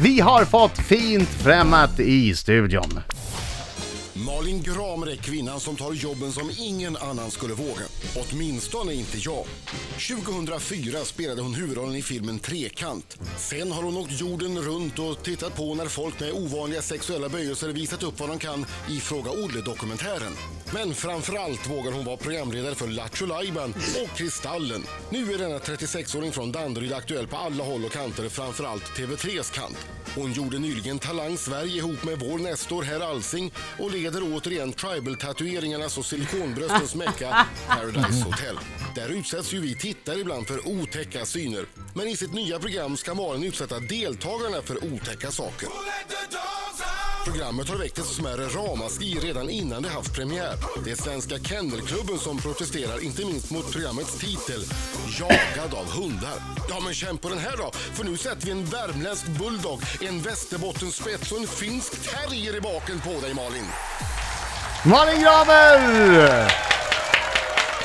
Vi har fått fint främmat i studion. Malin Gramer är kvinnan som tar jobben som ingen annan skulle våga. Åtminstone inte jag. 2004 spelade hon huvudrollen i filmen Trekant. Sen har hon åkt jorden runt och tittat på när folk med ovanliga sexuella böjelser visat upp vad de kan i Fråga Olle-dokumentären. Men framförallt vågar hon vara programledare för Lattjo Lajban och Kristallen. Nu är denna 36-åring från Danderyd aktuell på alla håll och kanter, framförallt TV3s kant. Hon gjorde nyligen Talang Sverige ihop med vår nästor herr Alsing och leder återigen tribal-tatueringarnas och silikonbröstens mecka Paradise Hotel. Där utsätts ju vi tittare ibland för otäcka syner. Men i sitt nya program ska Malin utsätta deltagarna för otäcka saker. Programmet har väckt ett smärre ramaskri redan innan det haft premiär. Det är Svenska Kennelklubben som protesterar, inte minst mot programmets titel Jagad av hundar. Ja, men känn på den här då, för nu sätter vi en värmländsk bulldog, en västerbottenspets och en finsk terrier i baken på dig, Malin. Malin Gramer!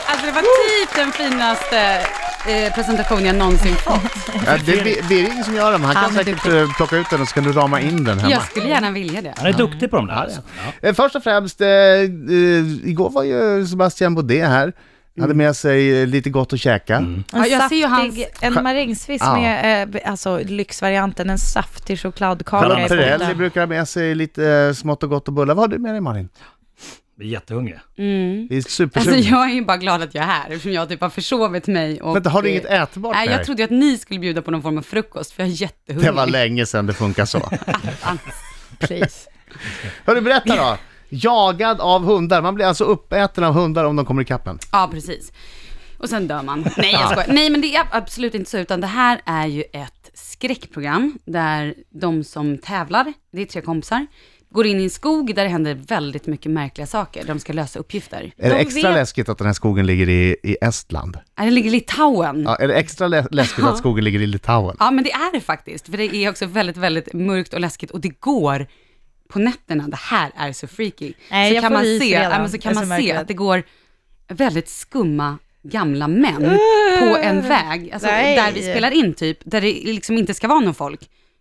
Alltså det var typ den finaste eh, presentation jag någonsin fått. Ja, det är Bi- Birging som gör dem. Han kan Han är säkert duktig. eh, plocka ut den och så kan du rama in den hemma. Jag skulle gärna vilja det. Han är duktig på de där. Ja, alltså. Ja. det. Eh, Först och främst, eh, eh, igår var ju Sebastian Baudet här. Hade med sig eh, lite gott att käka. Mm. Ja, En jag ser ju hans... saftig, en marängsviss Ja. med eh, b- alltså, lyxvarianten, en saftig chokladkaka Charlotte i Perrelli botten. brukar ha med sig lite eh, smått och gott och bullar. Vad har du med dig Malin? Vi är jättehungriga. Mm. Vi är Alltså supersugna. jag är ju bara glad att jag är här, eftersom jag typ har försovit mig och... Vänta, har du inget eh, ätbart Nej, med jag dig? trodde ju att ni skulle bjuda på någon form av frukost, för jag är jättehungrig. Det var länge sedan det funkar så. Please. Hörru, berätta då. Jagad av hundar. Man blir alltså uppäten av hundar om de kommer i kappen. Ja, precis. Och sen dör man. Nej, jag skojar. Nej, men det är absolut inte så, utan det här är ju ett skräckprogram där de som tävlar, det är tre kompisar, går in i en skog där det händer väldigt mycket märkliga saker, där de ska lösa uppgifter. Är det De extra vet- läskigt att den här skogen ligger i, i Estland? Ja, Det ligger i Litauen. Ja, är det extra lä- läskigt att skogen ligger i Litauen? Ja, men det är det faktiskt. För det är också väldigt, väldigt mörkt och läskigt och det går på nätterna. Det här är så freaky. Nej, så jag kan får man is se, redan. ja, men så Det är kan så man se märkligt. att det går väldigt skumma gamla män på en väg, alltså, Nej. där vi spelar in typ, där det liksom inte ska vara någon folk.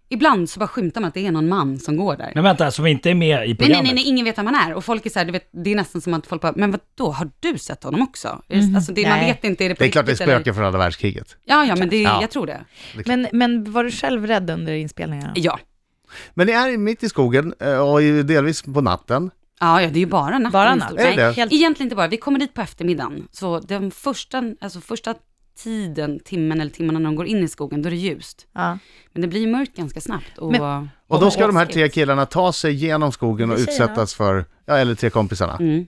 Ibland så bara skymtar man att det är någon man som går där. Men vänta, som inte är med i Nej, nej, programmet? nej, nej, ingen vet vem man är. Och folk är så här, du vet, det är nästan som att folk bara, men vad då har du sett honom också? Är det- Alltså det, man Mhm. Nej. vet inte, är det på Det är klart det är riktigt eller- spöken från andra världskriget. Ja, ja, men det, Ja. jag tror det. Men, men var du själv rädd under inspelningarna? Ja. Men ni är mitt i skogen eh, och ju delvis på natten. Ja, ja, det är ju bara natten. Bara i natt? stort Är sett. det det? Helt, Egentligen inte bara, vi kommer dit på eftermiddagen. Så den första, alltså första tiden, timmen eller timmarna när de går in i skogen, då är det ljust. ja. Men det blir ju mörkt ganska snabbt. Och, Och då ska de här tre killarna ta sig genom skogen och Det är tjejerna. utsättas för, ja eller tre kompisarna, Mm.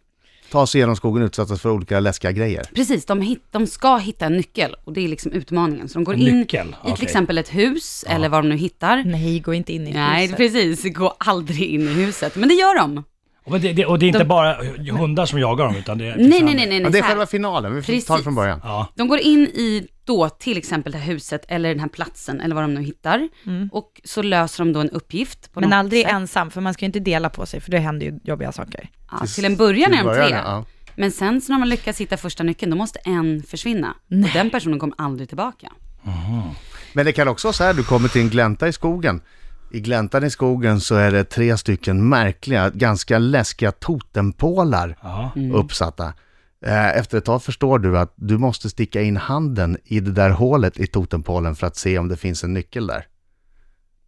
ta sig genom skogen och utsättas för olika läskiga grejer. Precis, de, hit, de ska hitta en nyckel och det är liksom utmaningen. Så de går En in nyckel? i till Okej. exempel ett hus eller vad de nu hittar. Nej, gå inte in i Nej, huset. precis, gå aldrig in i huset. Men det gör de. Och, men det, det, och det är inte bara hundar som jagar dem, utan det är... liksom- Nej, nej, nej, nej. nej Men det är så här. själva finalen, vi får ta det Precis. från början. Ja. De går in i då till exempel det här huset eller den här platsen eller vad de nu hittar. Och så löser de då en uppgift. På Men något aldrig sätt. ensam, för man ska ju inte dela på sig, för det händer ju jobbiga saker. Ja, till en början är Till de början, tre. ja. Men sen så när man lyckas hitta första nyckeln, då måste en försvinna. Och den personen kommer aldrig tillbaka. Men det kan också vara så här, du kommer till en glänta i skogen. I gläntan i skogen så är det tre stycken märkliga, ganska läskiga totempålar Ja. uppsatta. Eh, Efter ett tag förstår du att du måste sticka in handen i det där hålet i totempålen för att se om det finns en nyckel där.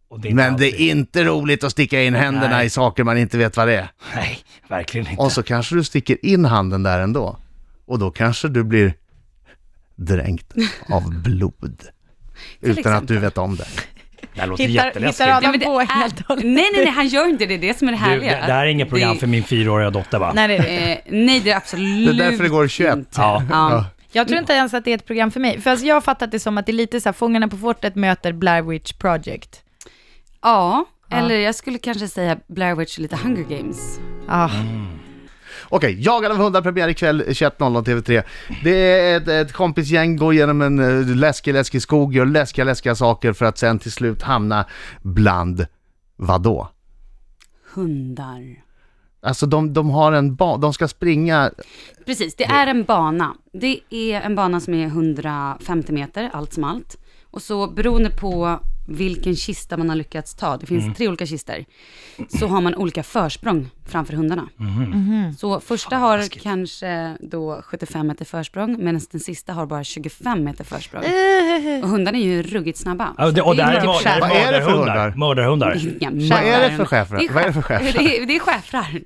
Och det är inte Men det alltid- är inte roligt att sticka in händerna Nej. i saker man inte vet vad det är. Nej, verkligen inte. Och så kanske du sticker in handen där ändå. Och då kanske du blir dränkt av blod. Utan att exempel. du vet om det. Det här låter Hittar, jätteläskigt. hittar Adam men det på är- helt och hållet? Nej, nej, nej, han gör inte det. Det är det som är det Du, härliga. det, det här är inget program för min fyraåriga dotter va? Nej, det är det. Eh, nej, det är absolut Det är därför det går 21. inte. Ja. Ja. Jag tror inte ens att det är ett program för mig. För alltså jag har fattat det som att det är lite så här, Fångarna på fortet möter Blair Witch Project. ja, eller jag skulle kanske säga Blair Witch lite Hunger Games. Ah. Mm. Okej, Jagad av hundar premiär ikväll 21.00 TV3. Det är ett, ett kompisgäng går genom en eh, läskig, läskig skog, gör läskiga, läskiga saker för att sen till slut hamna bland, vadå? Hundar. Alltså de, de har en ba- de ska springa, Precis, det är en bana. Det är en bana som är 150 meter, allt som allt. Och så beroende på vilken kista man har lyckats ta, det Mm. finns tre olika kister, så har man olika försprång framför hundarna. Mhm. Mhm. Så första har kanske då 75 meter försprång, medan den sista har bara 25 meter försprång. Eh. Och hundarna är ju ruggigt snabba. Ja, det, och det här är, Typ mör- det skär. Vad är det för hundar? Mördarhundar. Vad Inga är det mördare. för schäfrar? Det är, Vad är det för schäfrar. schäfrar? Det är, det är schäfrar.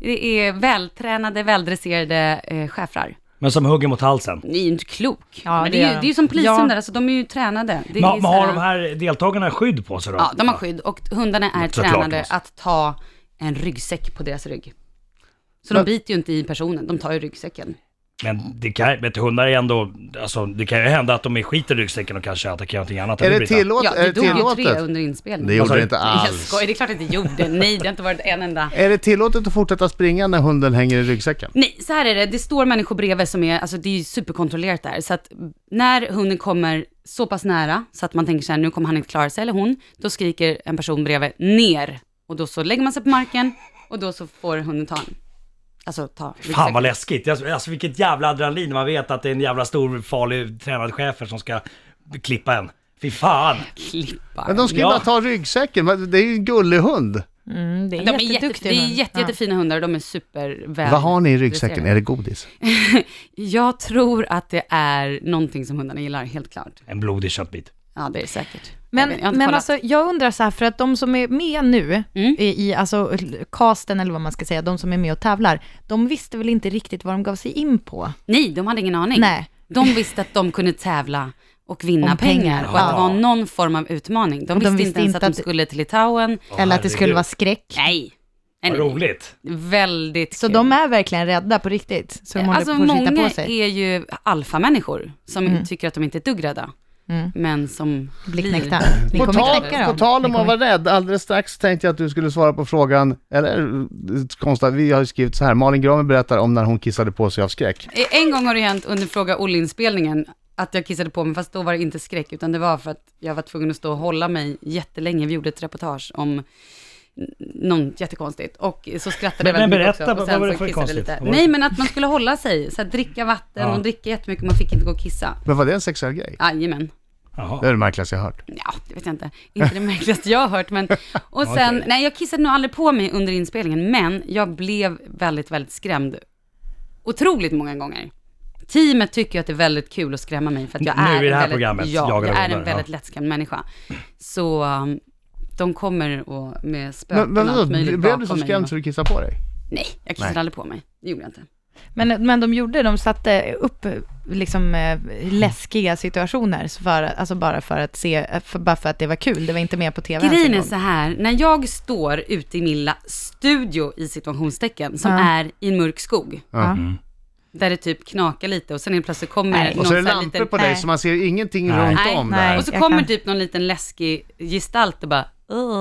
Det är vältränade, väldresserade eh, schäfrar. Men som hugger mot halsen. Ni är ju inte klok. Ja, men det det, är är ju, de. det är ju som polishundar, Ja. alltså de är ju tränade. Det är Men, ju men så har de här deltagarna skydd på sig då? Ja, de har skydd och hundarna är Såklart, tränade alltså. att ta en ryggsäck på deras rygg. Så Men- de biter ju inte i personen, de tar ju ryggsäcken. Men det kan, vet, du, hundar är ändå, alltså, det kan ju hända att de är skit i ryggsäcken och kanske attackerar någonting annat. Är eller det blir tillåt, Ja, är det det dog ju tre tillåtet? under inspelningen. Det gjorde Vad sa det du? inte Jag alls. skojar, det är klart att det gjorde. Nej, det har inte varit en enda. Är det tillåtet att fortsätta springa när hunden hänger i ryggsäcken? Nej, så här är det. Det står människor bredvid som är, alltså det är ju superkontrollerat där. Så att när hunden kommer så pass nära så att man tänker så här, nu kommer han inte klara sig eller hon, då skriker en person bredvid ner. Och då så lägger man sig på marken och då så får hunden ta en. Alltså ta. Fan vad läskigt. Alltså, alltså vilket jävla adrenalin när man vet att det är en jävla stor farlig tränad chefer som ska klippa en. Fy fan. Klippa. Men de ska ju Ja. bara ta ryggsäcken, vad- det är ju en gullig hund. Mm, det är De är, jätte, jätteduktiga det är hund. jätte, jättefina hundar och de är superväl... Vad har ni i ryggsäcken? Är det godis? Jag tror att det är någonting som hundarna gillar, helt klart. En blodig köttbit. Ja, det är det säkert. Men, jag vet- jag har inte men kollat. alltså, jag undrar så här, för att de som är med nu Mm. i, i alltså, casten, eller vad man ska säga, de som är med och tävlar, de visste väl inte riktigt vad de gav sig in på? Nej, de hade ingen aning. Nej. De visste att de kunde tävla och vinna Om pengar, pengar. och att det Ja. var någon form av utmaning. De, visste, inte ens att, att- de skulle till Litauen. eller att det skulle herregud. vara skräck. Nej. Nej, Vad nej. roligt. Väldigt Så kul. de är verkligen rädda på riktigt? Så de håller Alltså på att många skita på sig? är ju alfamänniskor som tycker att de inte är ett dugg rädda. Mm. Men som Blir knäckta. Ni På kommer tal, knäcka dem. på tal om Ni att kommer... vara rädd, alldeles strax tänkte jag att du skulle svara på frågan, eller konstigt, vi har ju skrivit så här, Malin Gramer berättar om när hon kissade på sig av skräck. Eh, En gång har det hänt under Fråga Olle-inspelningen att jag kissade på mig, fast då var det inte skräck, utan det var för att jag var tvungen att stå och hålla mig jättelänge. Vi gjorde ett reportage om n- något jättekonstigt och så skrattade jag Men- men väldigt mycket berätta, också. Och vad var det så för kissade jag konstigt? lite. Vad var det- Nej, men att man skulle hålla sig, så här, dricka vatten Ja. och dricka jättemycket, man fick inte gå och kissa. Men var det en sexuell grej? Jajamän. Det Jaha. är det märkligaste jag har hört. Ja, det vet jag inte. Inte det märkligaste jag har hört, men... Och sen, Okej. nej jag kissade nog aldrig på mig under inspelningen, men jag blev väldigt, väldigt skrämd. Otroligt många gånger. Teamet tycker ju att det är väldigt kul att skrämma mig, för att jag Nu i är, det här en väldigt, programmet, ja, Jagar jag är hundar, en väldigt lättskrämd människa. Så um, de kommer och med spöken Men, men och vadå, allt möjligt blev du så bakom mig. skrämd så du kissade på dig? Nej, jag kissade Nej. aldrig på mig. Det gjorde jag inte. Men, men de gjorde, de satte upp liksom eh, läskiga situationer, så för, alltså bara för att se, för, bara för att det var kul, det var inte med på tv ens en Grejen är gång. så här, när jag står ute i min lilla studio i situationstecken, som Ja. är i en mörk skog, Ja. där det typ knakar lite och sen helt plötsligt kommer Nej. någon Och så är det här lampor liten, på dig Nej. så man ser ingenting Nej. runt Nej, om nej. där. Och så Jag kommer kan- typ någon liten läskig gestalt och bara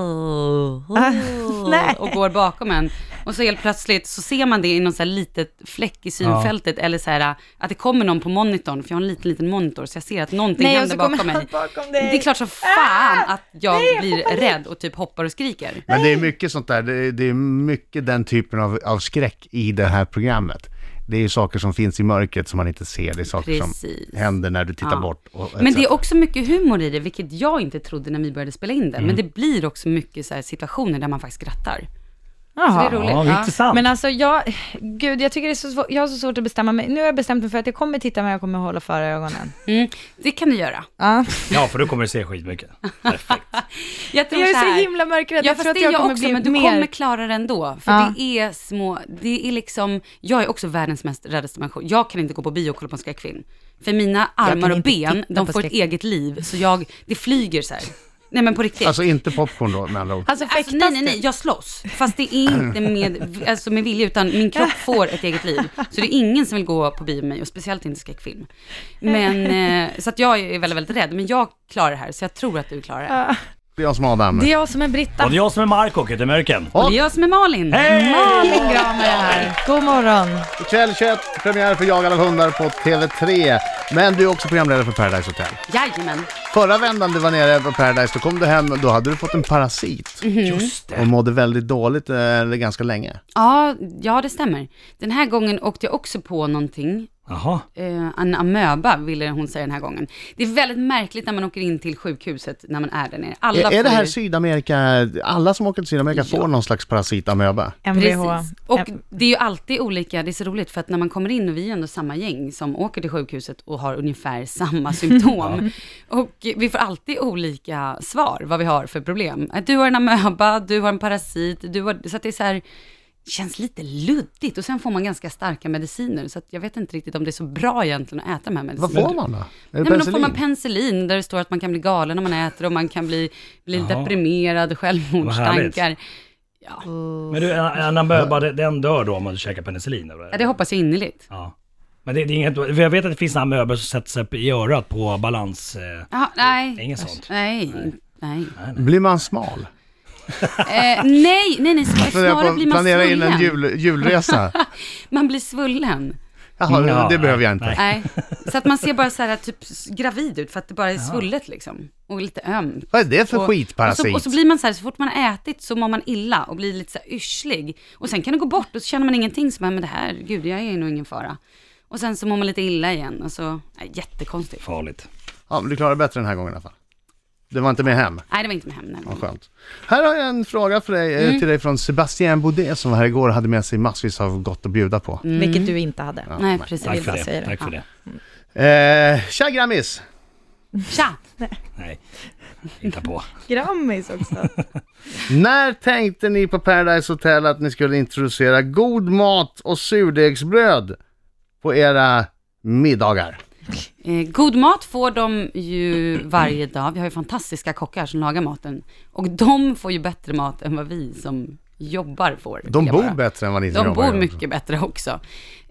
"Åh, åh", Oh. nej. och går bakom en. Och så helt plötsligt så ser man det i någon så här litet fläck i synfältet eller så här att det kommer någon på monitorn, för jag har en liten, liten monitor så jag ser att någonting Nej, och händer så kommer bakom mig. han bakom dig. Ah! det är klart som fan att jag blir rädd och typ hoppar och skriker. Men det är mycket sånt där, det är, det är mycket den typen av, av skräck i det här programmet. Det är ju saker som finns i mörkret som man inte ser, det är saker Precis. som händer när du tittar Ja. bort. Och, Men det är också mycket humor i det, vilket jag inte trodde när vi började spela in det. Mm. Men det blir också mycket så här situationer där man faktiskt skrattar. Jaha. Så det är roligt. Ja, vad intressant. Men alltså jag, gud jag tycker det är så svårt, jag har så svårt att bestämma mig. Nu har jag bestämt mig för att jag kommer titta men jag kommer hålla för ögonen. Mm, det kan du göra. Ja. Ja, för då kommer du se skitmycket. Perfekt. Jag tror Jag är så så här, himla mörkrädd, Ja, jag fast tror att det är jag jag kommer också, bli men du mer... kommer klara det ändå. För Ja. det är små, det är liksom, jag är också världens mest räddaste människa. Jag kan inte gå på bio och kolla på en skräckfilm. För mina kan armar och inte ben, titta de på får ett skräck. eget liv, så jag, det flyger så här. Nej men på riktigt. Alltså inte popcorn då med andra ord. Alltså fäktas Alltså, nej, nej, du? nej, jag slåss. Fast det är inte med, alltså, med vilja, utan min kropp får ett eget liv. Så det är ingen som vill gå på bio med mig, och speciellt inte skräckfilm. Men, eh, så att jag är väldigt, väldigt rädd. Men jag klarar det här, så jag tror att du klarar det. Det är jag som har Adam. Det är jag som är Britta. Och det är jag som är Marco och heter Mörken. Och det är jag som är Malin. Hej! Malin Gramer här. God morgon. Ikväll 21, premiär för Jagade hundar på TV3. Men du är också programledare för Paradise Hotel. Jajamän. Förra vändan du var nere på Paradise, då kom du hem och då hade du fått en parasit. Just Mm. Och det. mådde väldigt dåligt, eh, eller ganska länge. Ja, ja, det stämmer. Den här gången åkte jag också på någonting. Jaha. eh, en amöba, ville hon säga den här gången. Det är väldigt märkligt när man åker in till sjukhuset när man är där nere. Alla Är, är det får här ju- Sydamerika, alla som åker till Sydamerika får någon slags parasitamöba? Mvh. Precis. Och det är ju alltid olika, det är så roligt för att när man kommer in och vi är ändå samma gäng som åker till sjukhuset och har ungefär samma symptom. Och vi får alltid olika svar vad vi har för problem. Att Du har en amöba, du har en parasit, du har, så att det är så här, känns lite luddigt och sen får man ganska starka mediciner så att jag vet inte riktigt om det är så bra egentligen att äta de här Vad medicinerna. får man då? Är det Nej, men då får man penicillin? penicillin där det står att man kan bli galen när man äter och man kan bli, bli Jaha. deprimerad, självmordstankar. Men du, en, en amöba, den- den dör då om man käkar penicillin? Eller? Ja, det hoppas jag innerligt. Ja. Men det, det är inget, för jag vet att det finns amöber som sätter sig upp i örat på balans... Eh, Ja, nej. det är inget sånt. Nej, nej. Blir man smal? Eh, nej, nej, nej, sn- Funderar på snarare att blir man Planera in en svullen. jul, julresa? Man blir svullen. Jaha, Ja, det behöver jag nej. inte. Nej. Så att man ser bara så här typ s- gravid ut för att det bara är svullet liksom. Och lite ömt. Vad är det för Och- skitparasit? Och så, och så blir man så här, så fort man har ätit så mår man illa och blir lite så här yrslig. Och sen kan det gå bort och så känner man ingenting, så bara, men det här, gud, jag är nog ingen fara. Och sen så mår man lite illa igen och så, nej, jättekonstigt. farligt. Ja, men du klarar det bättre den här gången i alla fall. Det var inte med hem. Nej, det var inte med hem den här gången. Vad skönt. Här har jag en fråga för dig, eh, Mm. till dig från Sebastian Baudet som var här igår och hade med sig massvis av gott att bjuda på. Vilket du inte hade. Nej, precis. Tack för bara säga det. det. Tack för det. Eh, tja grammis! Tja! Nej, hitta på. Grammis också. När tänkte ni på Paradise Hotel att ni skulle introducera god mat och surdegsbröd på era middagar? Eh, god mat får de ju varje dag. Vi har ju fantastiska kockar som lagar maten. Och de får ju bättre mat än vad vi som jobbar får. De Jag bor bara- bättre än vad ni som De jobbar bor gör. mycket bättre också.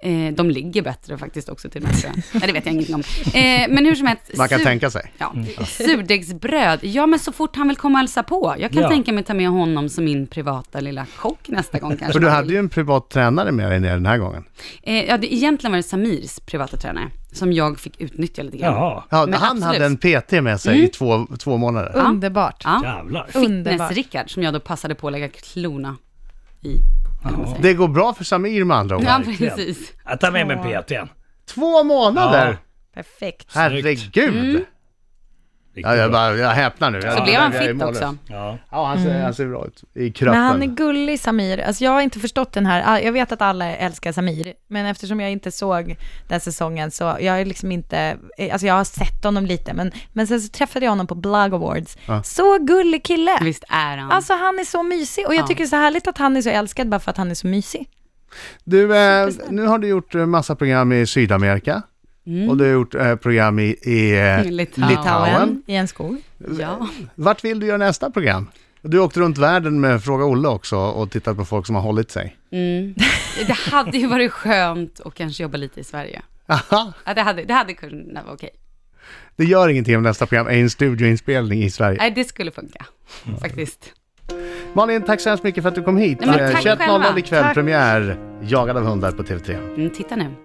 Eh, de ligger bättre faktiskt också till och med. tror jag. Nej, det vet jag ingenting om. Eh, men hur som helst. Man kan sur- tänka Mm. sig. Ja. Surdegsbröd. Ja, men så fort han vill komma och hälsa på. Jag kan Ja. tänka mig ta med honom som min privata lilla kock nästa gång kanske. För du hade ju en privat tränare med dig ner den här gången. eh, ja, det, egentligen var det Samirs privata tränare som jag fick utnyttja lite grann. Jaha, Ja, han Men absolut. Mm. hade en PT med sig i två, två månader. Underbart. Ja. jävlar. Underbart. Fitness-Rickard som jag då passade på att lägga klona i. Ja. Det går bra för Samir med andra ord. Ja, verkligen. precis. Jag tar med mig PT'n. Två månader! Perfekt. Herregud! Mm. Ja, jag, bara, jag häpnar nu. Så Jag, blev han jag är fit mållös. också. Ja. Ja, han ser, han ser bra ut. I Mm. Men kroppen. han är gullig Samir. Alltså jag har inte förstått den här, ah, jag vet att alla älskar Samir, men eftersom jag inte såg den säsongen så jag är liksom inte, eh, alltså jag har sett honom lite, men, men sen så träffade jag honom på Blog Awards. Så gullig kille! Visst är han. Alltså han är så mysig och jag Ja. tycker det är så härligt att han är så älskad bara för att han är så mysig. Du, eh, nu har du gjort eh, massa program i Sydamerika. Och du har gjort eh, program i, i eh, Mm. Litauen. Litauen. I en skog. ja. Vart vill du göra nästa program? Du åkte runt världen med Fråga Olle också och tittat på folk som har hållit sig. Mm. Det hade ju varit skönt att kanske jobba lite i Sverige. Aha, Ja, det, hade, det hade kunnat vara okej. det gör ingenting om nästa program är en studioinspelning i Sverige. Nej, det skulle funka faktiskt. Malin, tack så hemskt mycket för att du kom hit. Nej, men Eh, tack 21.00 själva. ikväll, Tack. premiär, Jagad av hundar på TV3. Mm, titta nu.